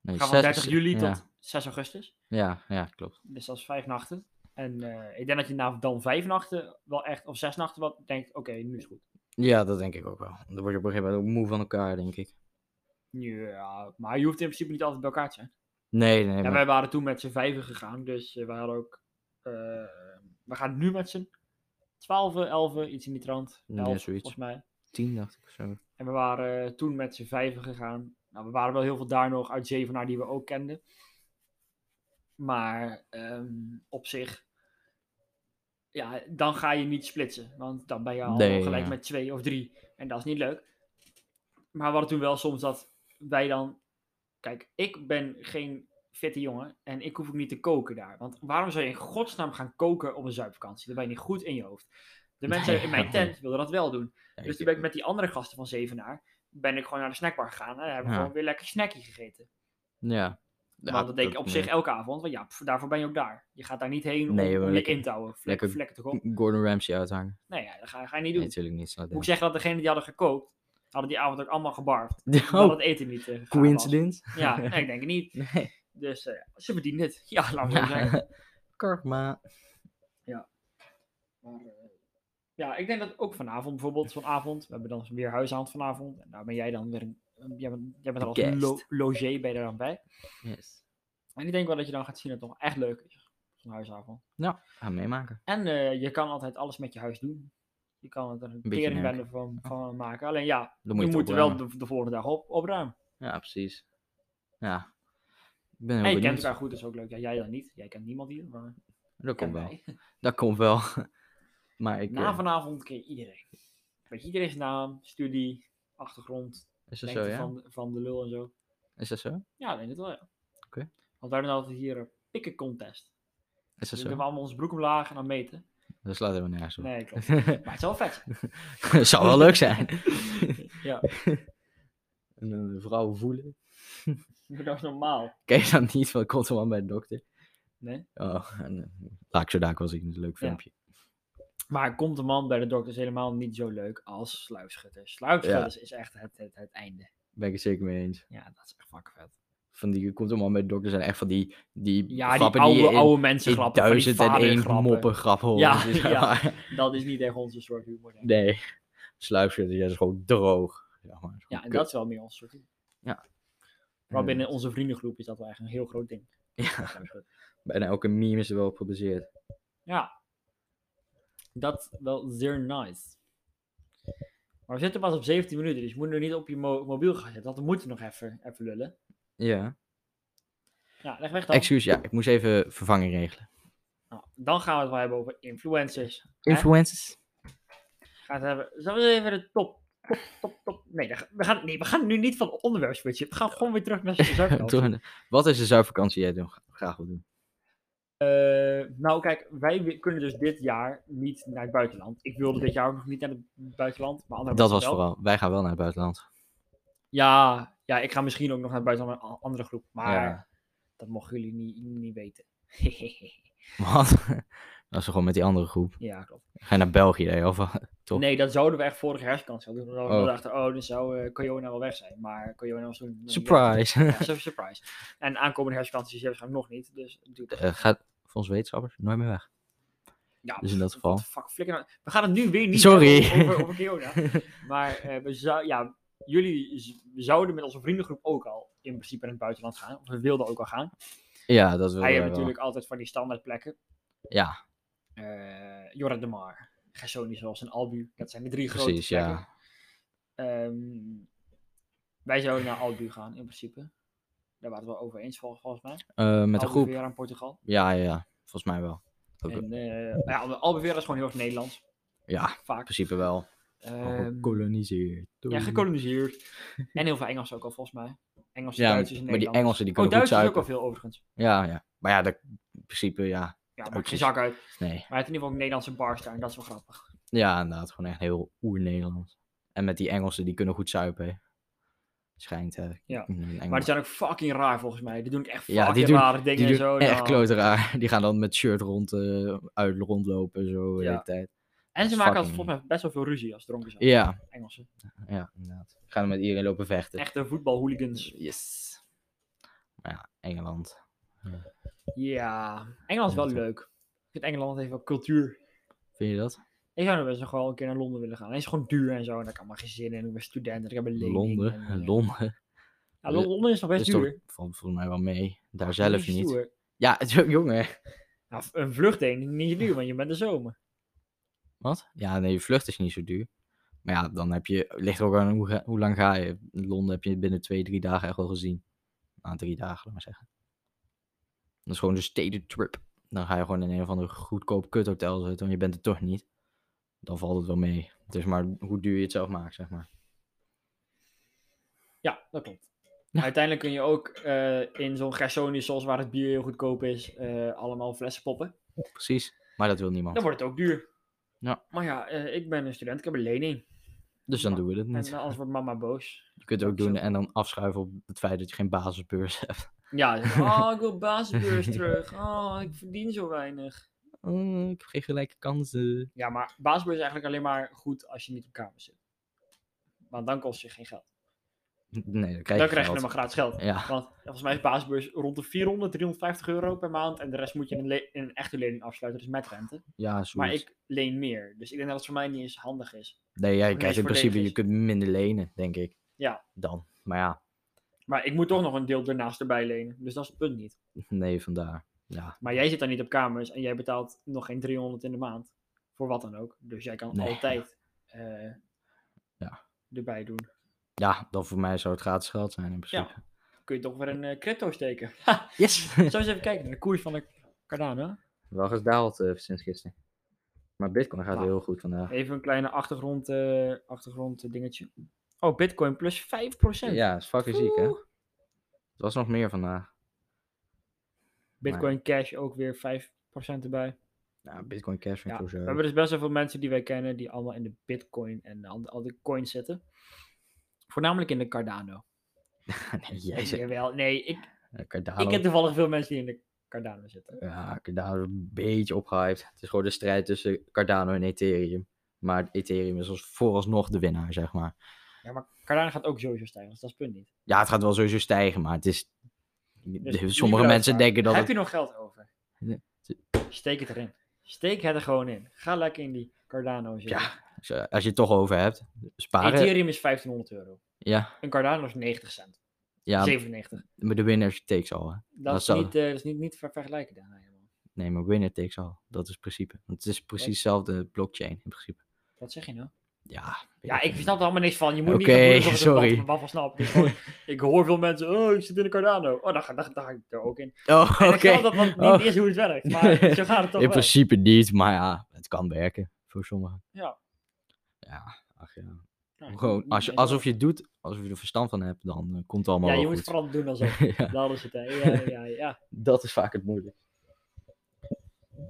Speaker 1: Nee,
Speaker 2: we gaan van
Speaker 1: zes-
Speaker 2: 30 juli
Speaker 1: ja.
Speaker 2: tot 6 augustus.
Speaker 1: Ja, ja, klopt.
Speaker 2: Dus dat is vijf nachten. En eh, ik denk dat je na dan vijf nachten wel echt, of zes nachten, wat denkt, oké, nu is het goed.
Speaker 1: Ja, dat denk ik ook wel. Dan word je op een gegeven moment ook moe van elkaar, denk ik.
Speaker 2: Ja, maar je hoeft in principe niet altijd bij elkaar te zijn.
Speaker 1: Nee, nee.
Speaker 2: En
Speaker 1: maar-
Speaker 2: wij waren toen met z'n vijven gegaan, dus eh, wij hadden ook eh, We gaan nu met z'n 12, 11, iets in die trant.
Speaker 1: Ja,
Speaker 2: 11,
Speaker 1: zoiets.
Speaker 2: volgens mij.
Speaker 1: Tien dacht ik of zo.
Speaker 2: En we waren eh, toen met z'n vijven gegaan. Nou, we waren wel heel veel daar nog uit Zevenaar die we ook kenden. Maar ehm, op zich, ja, dan ga je niet splitsen. Want dan ben je al
Speaker 1: Nee,
Speaker 2: gelijk
Speaker 1: ja.
Speaker 2: met twee of drie. En dat is niet leuk. Maar we hadden toen wel soms dat wij dan... Kijk, ik ben geen fitte jongen en ik hoef ook niet te koken daar. Want waarom zou je in godsnaam gaan koken op een zuipvakantie? Daar ben je niet goed in je hoofd. De mensen
Speaker 1: Nee,
Speaker 2: in mijn
Speaker 1: ja.
Speaker 2: tent wilden dat wel doen.
Speaker 1: Ja,
Speaker 2: Dus
Speaker 1: ik-
Speaker 2: toen ben ik met die andere gasten van Zevenaar, ben ik gewoon naar de snackbar gegaan. En hebben we
Speaker 1: Ja.
Speaker 2: gewoon weer lekker snackie gegeten.
Speaker 1: Ja.
Speaker 2: Want dat deed ik op zich elke avond. Want ja, pff, daarvoor ben je ook daar. Je gaat daar niet heen om,
Speaker 1: Nee,
Speaker 2: om
Speaker 1: maar
Speaker 2: je
Speaker 1: lekker-
Speaker 2: in te houden. Vlek-
Speaker 1: lekker-
Speaker 2: vlekken te komen.
Speaker 1: Gordon Ramsay uithangen.
Speaker 2: Nee, ja, dat ga, ga je niet
Speaker 1: Nee,
Speaker 2: doen.
Speaker 1: natuurlijk niet. snap
Speaker 2: Moet ik
Speaker 1: ik.
Speaker 2: zeggen dat degenen die hadden gekookt, hadden die avond ook allemaal gebarfd.
Speaker 1: Oh,
Speaker 2: Omdat het eten niet eh, gaar was.
Speaker 1: coincidence?
Speaker 2: Ja, nee, ik denk het niet.
Speaker 1: Nee.
Speaker 2: Dus eh, ze verdienen het. Ja, laten we zo zeggen.
Speaker 1: Ja. Karma.
Speaker 2: Maar, eh, ja, ik denk dat ook vanavond bijvoorbeeld, vanavond, we hebben dan weer huisavond vanavond. En daar ben jij dan weer een, jij bent, jij bent al als
Speaker 1: Guest.
Speaker 2: lo logé ben je er dan bij.
Speaker 1: Yes.
Speaker 2: En ik denk wel dat je dan gaat zien dat het toch echt leuk is. Zo'n huisavond.
Speaker 1: Gaan we meemaken.
Speaker 2: En eh, je kan altijd alles met je huis doen. Je kan het er een
Speaker 1: beetje
Speaker 2: teringbende van, van maken. Alleen ja,
Speaker 1: Dan moet
Speaker 2: je
Speaker 1: je, het
Speaker 2: moet er wel
Speaker 1: opruimen.
Speaker 2: de, de volgende dag op, opruimen.
Speaker 1: Ja, precies. Ja. Ik ben heel
Speaker 2: En je kent
Speaker 1: benieuwd.
Speaker 2: elkaar goed, dat is ook leuk. Ja, jij dan niet. Jij kent niemand hier, maar ik
Speaker 1: Dat
Speaker 2: ken
Speaker 1: komt wel.
Speaker 2: mij.
Speaker 1: Dat komt wel. maar ik...
Speaker 2: Na
Speaker 1: eh,
Speaker 2: vanavond ken je iedereen. Weet je iedereen's naam, studie, achtergrond,
Speaker 1: is dat zo,
Speaker 2: lengte
Speaker 1: ja?
Speaker 2: van, van de lul en zo.
Speaker 1: Is dat zo?
Speaker 2: Ja, ik denk het wel, ja.
Speaker 1: Oké.
Speaker 2: Want wij doen altijd hier een pikken contest.
Speaker 1: Is dat
Speaker 2: Dus
Speaker 1: zo?
Speaker 2: we doen allemaal onze broek omlaag en dan meten.
Speaker 1: Dat slaat helemaal nergens op.
Speaker 2: Nee, klopt. Maar het is wel vet.
Speaker 1: Zou wel leuk zijn.
Speaker 2: Ja,
Speaker 1: En een vrouw voelen.
Speaker 2: dat is normaal.
Speaker 1: Ken je dat niet? Want ik kom gewoon bij de dokter.
Speaker 2: Nee.
Speaker 1: Oh, en, eh, laat ik zo daar was ik een leuk filmpje.
Speaker 2: Maar komt de man bij de dokter is helemaal niet zo leuk als sluipschutters. Sluipschutters is echt het, het, het einde.
Speaker 1: Ben ik het zeker mee eens.
Speaker 2: Ja, dat is echt fucking vet.
Speaker 1: Van die komt allemaal bij de dokter zijn echt van die die
Speaker 2: Ja, die
Speaker 1: grappen
Speaker 2: oude,
Speaker 1: je in-
Speaker 2: oude mensen
Speaker 1: in
Speaker 2: grappen. van die
Speaker 1: duizend en één
Speaker 2: vadergrappen.
Speaker 1: moppen grap hoort.
Speaker 2: Ja,
Speaker 1: Dus,
Speaker 2: ja.
Speaker 1: maar-
Speaker 2: Dat is niet echt onze soort humor. Denk ik.
Speaker 1: Nee. Sluipschutter, dat is gewoon droog. Zeg maar. Is gewoon
Speaker 2: Ja, en
Speaker 1: kut.
Speaker 2: dat is wel meer onze soort humor.
Speaker 1: Ja. Eh,
Speaker 2: Maar binnen onze vriendengroep is dat wel echt een heel groot ding.
Speaker 1: Ja.
Speaker 2: Sluipschutter.
Speaker 1: Bijna elke meme is er wel op gebaseerd.
Speaker 2: Ja. Dat is wel zeer nice. Maar we zitten pas op 17 minuten, dus je moet nu niet op je mo- mobiel gaan zitten. Want we moeten nog even, even lullen.
Speaker 1: Ja.
Speaker 2: Ja, leg weg dan.
Speaker 1: Excuus, ja, ik moest even vervanging regelen.
Speaker 2: Nou, dan gaan we het wel hebben over influencers.
Speaker 1: Influencers.
Speaker 2: Gaan we het hebben. Zullen we even de top. top, top, top. Nee, daar ga- we gaan, nee, we gaan nu niet van het onderwerp switchen. We gaan gewoon weer terug naar
Speaker 1: Toch
Speaker 2: zuidvakantie.
Speaker 1: een- Wat is de zuivakantie jij dan graag wil doen?
Speaker 2: Eh nou, kijk, wij wi- kunnen dus dit jaar niet naar het buitenland. Ik wilde dit jaar ook nog niet naar het buitenland. Maar andere
Speaker 1: Dat was
Speaker 2: mensen wel.
Speaker 1: vooral. Wij gaan wel naar het buitenland.
Speaker 2: Ja, ja, ik ga misschien ook nog naar het buitenland met een a- andere groep. Maar
Speaker 1: Ja.
Speaker 2: dat mogen jullie niet, niet weten.
Speaker 1: Wat? Dat is toch gewoon met die andere groep.
Speaker 2: ja, klopt.
Speaker 1: Ga je naar België, hè? Of wat? Top.
Speaker 2: Nee, dat zouden we echt vorige herfstkans doen. Toen
Speaker 1: Oh.
Speaker 2: dachten we, oh, dan zou eh Corona wel weg zijn. Maar Corona was toen...
Speaker 1: Surprise.
Speaker 2: Ja, sur- surprise. En aankomende herfstvakantie is hij waarschijnlijk nog niet. Dus doe dat.
Speaker 1: Eh, gaat volgens wetenschappers nooit meer weg.
Speaker 2: Ja,
Speaker 1: Dus in dat
Speaker 2: pff,
Speaker 1: geval.
Speaker 2: what the Fuck, flikker nou. We gaan het nu weer niet
Speaker 1: Sorry.
Speaker 2: hebben over, over Corona. Maar eh, we zou, ja, jullie z- we zouden met onze vriendengroep ook al in principe naar het buitenland gaan. Of we wilden ook al gaan.
Speaker 1: Ja, dat wil
Speaker 2: Hij
Speaker 1: ik
Speaker 2: heeft
Speaker 1: wel.
Speaker 2: Ah, natuurlijk altijd van die standaardplekken.
Speaker 1: Ja,
Speaker 2: Eh Jorre de Mar, Gersoni zoals en Albu. Dat zijn de drie
Speaker 1: precies,
Speaker 2: grote plekken.
Speaker 1: ja.
Speaker 2: Ehm, wij zouden naar Albu gaan in principe. Daar waren we het wel over eens vol- volgens mij.
Speaker 1: Eh, met een groep.
Speaker 2: weer aan Portugal.
Speaker 1: Ja, ja, ja, volgens mij wel. Ook-
Speaker 2: En, eh, ja, Albufeira is gewoon heel erg Nederlands.
Speaker 1: Ja, in
Speaker 2: Vaak.
Speaker 1: principe wel.
Speaker 2: Ehm,
Speaker 1: Dus Gekoloniseerd.
Speaker 2: ja, gekoloniseerd. en heel veel Engels ook al, volgens mij. Engels,
Speaker 1: Ja,
Speaker 2: Duitsers en
Speaker 1: maar die
Speaker 2: Nederlanders.
Speaker 1: Engelsen, die
Speaker 2: Oh,
Speaker 1: kunnen goed
Speaker 2: Duitsers ook al
Speaker 1: zuipen.
Speaker 2: veel, overigens.
Speaker 1: Ja, ja. Maar ja, dat, in principe, ja.
Speaker 2: Ja, maakt geen
Speaker 1: Duitsers.
Speaker 2: zak uit. Maar
Speaker 1: Nee.
Speaker 2: hij heeft in ieder geval ook Nederlandse bars daar, en dat is wel grappig.
Speaker 1: Ja, inderdaad. Gewoon echt heel oer-Nederlands. En met die Engelsen, die kunnen goed zuipen. hè. Schijnt, hè.
Speaker 2: Ja,
Speaker 1: in Engeland.
Speaker 2: Maar die zijn ook fucking raar, volgens mij. Die doen ook echt
Speaker 1: Ja, die
Speaker 2: fucking
Speaker 1: doen-
Speaker 2: rare dingen
Speaker 1: Die
Speaker 2: en
Speaker 1: doen
Speaker 2: zo.
Speaker 1: echt
Speaker 2: nou.
Speaker 1: klote raar. Die gaan dan met shirt rond, eh, uit rondlopen, zo de
Speaker 2: Ja.
Speaker 1: hele tijd.
Speaker 2: En ze
Speaker 1: Fucking-
Speaker 2: maken altijd, volgens mij best wel veel ruzie als ze dronken zijn.
Speaker 1: Ja,
Speaker 2: Engelsen.
Speaker 1: ja, inderdaad. Gaan dan met iedereen lopen vechten.
Speaker 2: Echte voetbalhooligans.
Speaker 1: Yes. Maar ja, Engeland.
Speaker 2: Ja, Engeland is wel
Speaker 1: Ja, toch.
Speaker 2: leuk. Ik vind Engeland heeft wel cultuur.
Speaker 1: Vind je dat?
Speaker 2: Ik zou nog best nog wel een keer naar Londen willen gaan. Het is gewoon duur en zo. En daar kan maar geen zin in. Ik ben student en ik heb een lening.
Speaker 1: Londen.
Speaker 2: en, eh,
Speaker 1: Londen.
Speaker 2: Ja, Londen is nog best
Speaker 1: is
Speaker 2: duur.
Speaker 1: toch vol- volgens mij wel mee. Daar
Speaker 2: Dat
Speaker 1: dus zelf
Speaker 2: is
Speaker 1: niet.
Speaker 2: stoer.
Speaker 1: Ja, het- jongen.
Speaker 2: Nou, v- een vlucht heen is niet zo duur, want je bent de zomer.
Speaker 1: Wat? Ja, nee, je vlucht is niet zo duur. Maar ja, dan heb je, ligt er ook aan hoe, ga- hoe lang ga je. In Londen heb je binnen twee, drie dagen echt wel gezien. Nou, drie dagen, laat maar zeggen. Dat is gewoon een stedentrip. Dan ga je gewoon in een of ander goedkoop kuthotel zitten, want je bent er toch niet. Dan valt het wel mee. Het is maar hoe duur je het zelf maakt, zeg maar.
Speaker 2: Ja, dat klopt.
Speaker 1: Ja.
Speaker 2: Uiteindelijk kun je ook eh, in zo'n Gersonisos, waar het bier heel goedkoop is, eh, allemaal flessen poppen.
Speaker 1: Precies. Maar dat wil niemand.
Speaker 2: Dan wordt het ook duur.
Speaker 1: Ja.
Speaker 2: Maar ja, eh, ik ben een student, ik heb een lening.
Speaker 1: Dus dan
Speaker 2: Ja,
Speaker 1: doen we het
Speaker 2: En
Speaker 1: niet.
Speaker 2: eh, anders wordt mama boos.
Speaker 1: Je kunt het ook
Speaker 2: zo.
Speaker 1: doen en dan afschuiven op het feit dat je geen basisbeurs hebt.
Speaker 2: Ja, ze zegt, oh, ik wil basisbeurs terug. Oh, ik verdien zo weinig.
Speaker 1: Oh, ik heb geen gelijke kansen.
Speaker 2: Ja, maar basisbeurs is eigenlijk alleen maar goed als je niet op kamer zit. Want dan kost je geen geld.
Speaker 1: Nee, dan
Speaker 2: Dan
Speaker 1: krijg je,
Speaker 2: krijg je
Speaker 1: geld.
Speaker 2: helemaal gratis geld.
Speaker 1: Ja,
Speaker 2: Want volgens mij is basisbeurs rond de 400, 350 euro per maand. En de rest moet je in een, le- in een echte lening afsluiten, dus met rente.
Speaker 1: ja
Speaker 2: Maar
Speaker 1: zoiets.
Speaker 2: ik leen meer. Dus ik denk dat het voor mij niet eens handig is.
Speaker 1: Nee, jij
Speaker 2: Of
Speaker 1: krijgt
Speaker 2: nee,
Speaker 1: in
Speaker 2: voor
Speaker 1: principe,
Speaker 2: levens.
Speaker 1: je kunt minder lenen, denk ik.
Speaker 2: Ja.
Speaker 1: Dan. Maar ja,
Speaker 2: Maar ik moet toch nog een deel daarnaast erbij lenen. Dus dat is het punt niet.
Speaker 1: nee, vandaar. Ja,
Speaker 2: Maar jij zit daar niet op kamers en jij betaalt nog geen 300 in de maand. Voor wat dan ook. Dus jij kan
Speaker 1: Nee.
Speaker 2: altijd eh,
Speaker 1: Ja.
Speaker 2: erbij doen.
Speaker 1: ja dan voor mij zou het gratis geld zijn in principe.
Speaker 2: Kun je toch weer een eh, crypto steken.
Speaker 1: Yes!
Speaker 2: Zo eens even kijken naar de koers van de Cardano.
Speaker 1: Wel gedaald eh, sinds gisteren. Maar Bitcoin gaat
Speaker 2: Nou.
Speaker 1: heel goed vandaag.
Speaker 2: Even een kleine achtergrond, eh, achtergrond eh, dingetje. Oh, bitcoin plus 5%.
Speaker 1: Ja, is fucking ziek, hè?
Speaker 2: Oeh.
Speaker 1: Het was nog meer vandaag.
Speaker 2: Bitcoin Cash ook weer 5% erbij.
Speaker 1: Ja, Bitcoin Cash vind
Speaker 2: Ja,
Speaker 1: ik
Speaker 2: we
Speaker 1: sowieso.
Speaker 2: hebben dus best wel veel mensen die wij kennen die allemaal in de Bitcoin en al- al die coins zitten. Voornamelijk in de Cardano.
Speaker 1: nee, jij zegt...
Speaker 2: Jawel, nee, ik,
Speaker 1: eh, Cardano.
Speaker 2: ik ken toevallig veel mensen die in de Cardano zitten.
Speaker 1: Ja, Cardano is een beetje opgehyped. Het is gewoon de strijd tussen Cardano en Ethereum. Maar Ethereum is als vooralsnog de winnaar, zeg maar.
Speaker 2: Ja, maar Cardano gaat ook sowieso stijgen, dus dat is het punt niet.
Speaker 1: Ja, het gaat wel sowieso stijgen, maar het is...
Speaker 2: Dus die
Speaker 1: Sommige
Speaker 2: wil
Speaker 1: mensen
Speaker 2: ik
Speaker 1: denken dat
Speaker 2: Heb
Speaker 1: het...
Speaker 2: je nog geld over?
Speaker 1: Nee.
Speaker 2: Steek het erin. Steek het er gewoon in. Ga lekker in die Cardano zitten.
Speaker 1: Ja, eh, als je- als je het toch over hebt, sparen.
Speaker 2: Ethereum is 1500 euro.
Speaker 1: Ja,
Speaker 2: Een Cardano is 90 cent.
Speaker 1: ja
Speaker 2: 97.
Speaker 1: maar de winner takes all. Hè?
Speaker 2: Dat,
Speaker 1: dat
Speaker 2: is
Speaker 1: zou-
Speaker 2: niet, eh, dat is niet, niet ver- vergelijken daarna helemaal.
Speaker 1: Nee, maar winner takes all. Dat is het principe. Want het is precies hetzelfde blockchain in principe.
Speaker 2: Wat zeg je nou?
Speaker 1: Ja, weet
Speaker 2: Ja, ik snap er allemaal niks van. Je moet
Speaker 1: Oké,
Speaker 2: niet gaan doen alsof ik
Speaker 1: sorry.
Speaker 2: het wat van snap. Dus gewoon, ik hoor veel mensen, oh, ik zit in de Cardano. Oh, dan ga, dan, dan ga ik er ook in.
Speaker 1: Oh,
Speaker 2: En
Speaker 1: oké.
Speaker 2: ik snap dat dat niet
Speaker 1: Oh.
Speaker 2: is hoe het werkt, maar zo gaat het toch
Speaker 1: In
Speaker 2: wel.
Speaker 1: principe niet, maar ja, het kan werken voor sommigen.
Speaker 2: Ja.
Speaker 1: Ja, ach ja.
Speaker 2: Ja, ik
Speaker 1: Gewoon,
Speaker 2: moet
Speaker 1: als je,
Speaker 2: niet eens
Speaker 1: alsof je het doet, alsof je er verstand van hebt, dan eh, komt het
Speaker 2: wel.
Speaker 1: allemaal
Speaker 2: Ja, je
Speaker 1: wel
Speaker 2: moet
Speaker 1: goed.
Speaker 2: vooral doen alsof.
Speaker 1: ja,
Speaker 2: Dat is het, hè. Ja, ja, ja.
Speaker 1: dat is vaak het moeilijk.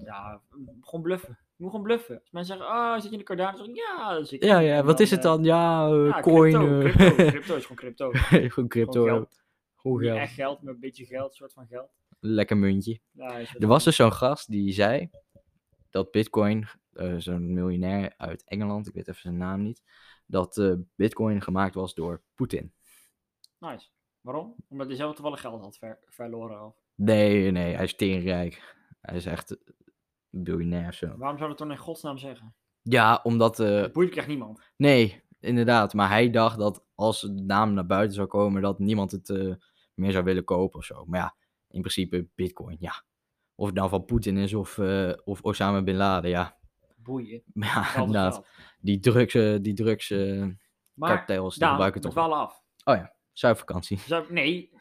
Speaker 2: Ja, gewoon bluffen. Je moet gewoon bluffen. Als mensen zeggen, oh, zit je in de Cardano? Dan zeg ik, ja, dat zit ik.
Speaker 1: Ja, ja,
Speaker 2: En
Speaker 1: wat is het
Speaker 2: eh,
Speaker 1: dan? Ja, eh,
Speaker 2: ja,
Speaker 1: coin.
Speaker 2: Crypto,
Speaker 1: eh,
Speaker 2: crypto, crypto is gewoon crypto.
Speaker 1: Gewoon
Speaker 2: Gewoon
Speaker 1: crypto.
Speaker 2: geld.
Speaker 1: Goed
Speaker 2: Niet
Speaker 1: geld.
Speaker 2: echt geld, maar een beetje geld, soort van geld.
Speaker 1: Lekker muntje.
Speaker 2: Ja, is het
Speaker 1: Er was dus zo'n gast die zei dat Bitcoin, eh, zo'n miljonair uit Engeland, ik weet even zijn naam niet, dat eh, Bitcoin gemaakt was door Poetin.
Speaker 2: Nice. Waarom? Omdat hij zelf toevallig geld had ver- verloren. Of...
Speaker 1: Nee, nee, hij is teringrijk. Hij is echt een biljonair of zo.
Speaker 2: Waarom zou dat dan in godsnaam zeggen?
Speaker 1: Ja, omdat. eh,
Speaker 2: Dat boeit echt niemand.
Speaker 1: nee, inderdaad. Maar hij dacht dat als de naam naar buiten zou komen, dat niemand het eh, meer zou willen kopen of zo. Maar ja, in principe Bitcoin, ja. Of het nou van Poetin is of, eh, of Osama Bin Laden, ja.
Speaker 2: Boeien. Geld
Speaker 1: Ja,
Speaker 2: is
Speaker 1: nou, inderdaad.
Speaker 2: geld.
Speaker 1: die drugs, eh, die drugs eh,
Speaker 2: Maar,
Speaker 1: kartels, die
Speaker 2: Daan,
Speaker 1: gebruiken
Speaker 2: we
Speaker 1: toch
Speaker 2: dwalen af.
Speaker 1: zuivervakantie.
Speaker 2: Zuip- nee.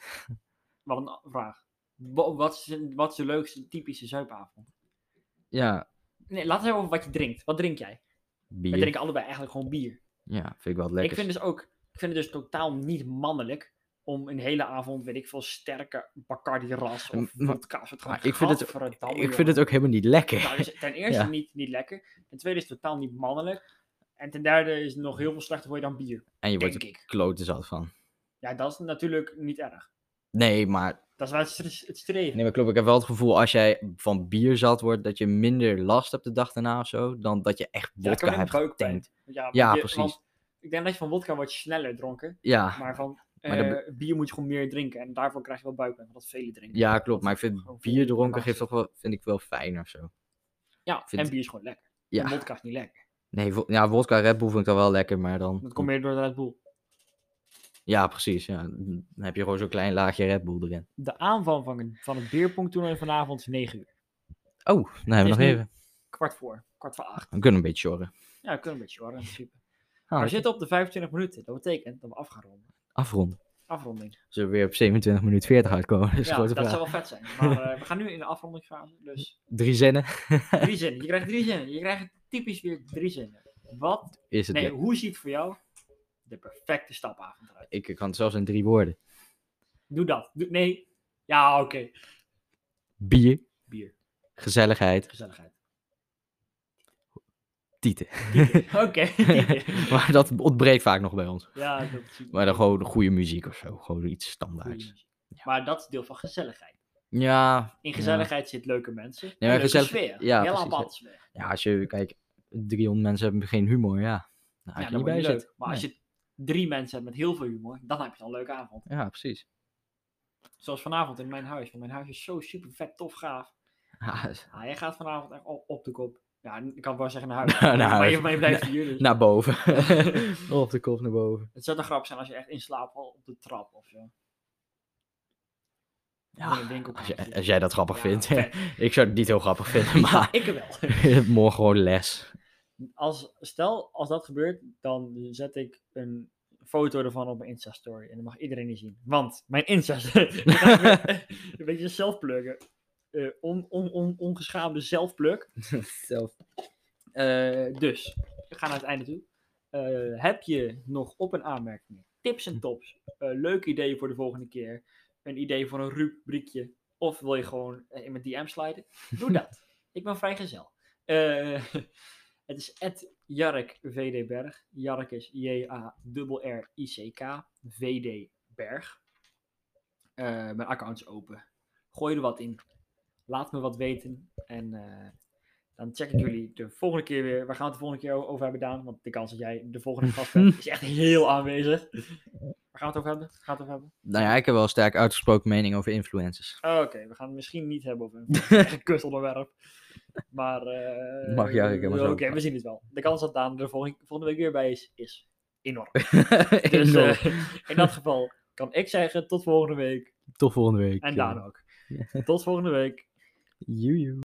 Speaker 2: Wat een a- vraag. Bo- Wat is, wat is de leukste typische zuipavond?
Speaker 1: Ja,
Speaker 2: Nee, laten we het even over wat je drinkt. Wat drink jij? We
Speaker 1: bier.
Speaker 2: drinken allebei eigenlijk gewoon bier.
Speaker 1: Ja, vind ik wel lekker.
Speaker 2: Ik vind dus ook, ik vind het dus totaal niet mannelijk om een hele avond, weet ik veel, sterke Bacardi ras of
Speaker 1: M- maar-
Speaker 2: vodka. soort
Speaker 1: maar
Speaker 2: gewoon
Speaker 1: ik vind het-
Speaker 2: gadverdamme,
Speaker 1: ik vind
Speaker 2: jongen.
Speaker 1: het ook helemaal niet lekker.
Speaker 2: Nou, dus ten eerste
Speaker 1: Ja.
Speaker 2: niet, niet lekker. Ten tweede is het totaal niet mannelijk. En ten derde is het nog heel veel slechter voor je dan bier,
Speaker 1: en je wordt
Speaker 2: denk
Speaker 1: er
Speaker 2: ik.
Speaker 1: kloten zat van.
Speaker 2: Ja, dat is natuurlijk niet erg.
Speaker 1: Nee, maar,
Speaker 2: Dat is wel het stre- het streven.
Speaker 1: nee, maar klopt. Ik heb wel het gevoel als jij van bier zat wordt, dat je minder last hebt de dag daarna of zo, dan dat je echt
Speaker 2: Ja, ik
Speaker 1: wodka
Speaker 2: heb
Speaker 1: hebt
Speaker 2: ook buikpijn.
Speaker 1: getankt.
Speaker 2: Ja,
Speaker 1: Ja,
Speaker 2: want je-
Speaker 1: precies.
Speaker 2: want ik denk dat je van wodka wordt sneller dronken.
Speaker 1: Ja,
Speaker 2: Maar van
Speaker 1: Maar de
Speaker 2: eh, bier moet je gewoon meer drinken. En daarvoor krijg je wel buikpijn, omdat vele drinken.
Speaker 1: ja, klopt. Maar ik vind
Speaker 2: Gewoon
Speaker 1: bier dronken
Speaker 2: relaxed.
Speaker 1: geeft toch wel, vind ik wel fijn of zo.
Speaker 2: Ja,
Speaker 1: vind-
Speaker 2: en bier is gewoon lekker. En
Speaker 1: Ja,
Speaker 2: wodka is niet lekker.
Speaker 1: nee, wo- ja, wodka Red Bull vind ik dan wel lekker, maar dan...
Speaker 2: Dat komt meer door de Red Bull.
Speaker 1: Ja, precies. Ja. Dan heb je gewoon zo'n klein laagje Red Bull erin.
Speaker 2: De aanvang van, van het bierpong toernooi vanavond is 9 uur.
Speaker 1: Oh, dan hebben we nog
Speaker 2: is nu-
Speaker 1: even.
Speaker 2: Kwart voor, kwart voor acht.
Speaker 1: We kunnen een beetje zorgen.
Speaker 2: Ja, we kunnen een beetje horen in principe.
Speaker 1: Ah,
Speaker 2: Maar we zitten op de 25 minuten. Dat betekent dat we af gaan ronden.
Speaker 1: Afronden.
Speaker 2: Afronding.
Speaker 1: Zullen we weer op 27 minuten 40 uitkomen? Dat is
Speaker 2: ja,
Speaker 1: een grote
Speaker 2: dat
Speaker 1: vraag.
Speaker 2: zou wel vet zijn. Maar eh, we gaan nu in de afrondingsfase. Dus
Speaker 1: Drie zinnen.
Speaker 2: drie zinnen. Je krijgt drie zinnen. Je krijgt typisch weer drie zinnen. Wat?
Speaker 1: Is het
Speaker 2: Nee,
Speaker 1: weer-
Speaker 2: hoe ziet voor jou de perfecte stapavond eruit?
Speaker 1: Ik kan het zelfs in drie woorden.
Speaker 2: Doe dat. Doe- nee. Ja, oké.
Speaker 1: Bier,
Speaker 2: Bier.
Speaker 1: gezelligheid,
Speaker 2: Gezelligheid.
Speaker 1: tieten.
Speaker 2: Oké.
Speaker 1: maar dat ontbreekt vaak nog bij ons.
Speaker 2: ja, dat zie ik.
Speaker 1: Maar dan gewoon goede muziek of zo. Gewoon iets
Speaker 2: Goeie
Speaker 1: standaards.
Speaker 2: muziek. Maar dat is deel van gezelligheid.
Speaker 1: Ja.
Speaker 2: In
Speaker 1: ja.
Speaker 2: gezelligheid zit leuke mensen. en
Speaker 1: maar
Speaker 2: leuke
Speaker 1: gezellig-
Speaker 2: sfeer.
Speaker 1: ja,
Speaker 2: Heel
Speaker 1: precies,
Speaker 2: aparte sfeer.
Speaker 1: Ja, als je, kijk, 300 mensen hebben geen humor, ja. Nou, als
Speaker 2: Ja, dat
Speaker 1: je niet
Speaker 2: wordt
Speaker 1: bij
Speaker 2: niet
Speaker 1: zit.
Speaker 2: leuk. Maar als je drie mensen hebt met heel veel humor, dan heb je al een leuke avond.
Speaker 1: Ja, precies.
Speaker 2: Zoals vanavond in mijn huis. Want mijn huis is zo super vet, tof, gaaf.
Speaker 1: Ja, is-
Speaker 2: Ah, jij gaat vanavond echt op, op de kop. Ja, ik kan wel zeggen naar huis.
Speaker 1: Naar
Speaker 2: maar, je,
Speaker 1: huis. Nou.
Speaker 2: maar je blijft hier dus.
Speaker 1: naar boven. op de kop naar boven.
Speaker 2: Het zou toch grappig zijn als je echt in slaap valt op de trap of zo. Of in
Speaker 1: Ja,
Speaker 2: een
Speaker 1: als,
Speaker 2: winkelkamertje.
Speaker 1: je- als jij dat grappig
Speaker 2: Ja,
Speaker 1: vindt.
Speaker 2: vet.
Speaker 1: ik zou het niet heel grappig vinden, maar
Speaker 2: Ik wel.
Speaker 1: morgen gewoon les.
Speaker 2: Als, stel, als dat gebeurt, dan zet ik een foto ervan op mijn Insta-story. En dan mag iedereen die zien. Want mijn Insta... Ik ga weer een beetje zelfpluggen. Eh on, on, on, ongeschaamde zelfplug. Eh, dus, we gaan naar het einde toe. Eh, heb je nog op- en aanmerkingen, tips en tops, eh, leuke ideeën voor de volgende keer, een idee voor een rubriekje, of wil je gewoon eh, in mijn DM sliden? Doe dat. Ik ben vrijgezel. Eh het is at Jark VDberg. Jark is J-A-R-R-I-C-K VDberg. Eh mijn account is open. Gooi er wat in. Laat me wat weten. En eh, dan check ik jullie de volgende keer weer. Waar gaan we het de volgende keer o- over hebben, Daan? Want de kans dat jij de volgende gast bent is echt heel aanwezig. Waar gaan we het over hebben? Waar Gaan we het over hebben?
Speaker 1: Nou ja, ik heb wel een sterk uitgesproken mening over influencers.
Speaker 2: Oh, Oké, we gaan het misschien niet hebben over een kunstonderwerp. Maar. eh,
Speaker 1: Mag je eigenlijk helemaal
Speaker 2: Oké,
Speaker 1: zo
Speaker 2: we zien het wel. De kans dat Daan er volgende, volgende week weer bij is, is enorm. Dus
Speaker 1: Enorm.
Speaker 2: eh, in dat geval kan ik zeggen tot volgende week.
Speaker 1: Tot volgende week. eh.
Speaker 2: En
Speaker 1: joh.
Speaker 2: Daan ook. Tot volgende week.
Speaker 1: Joejoe.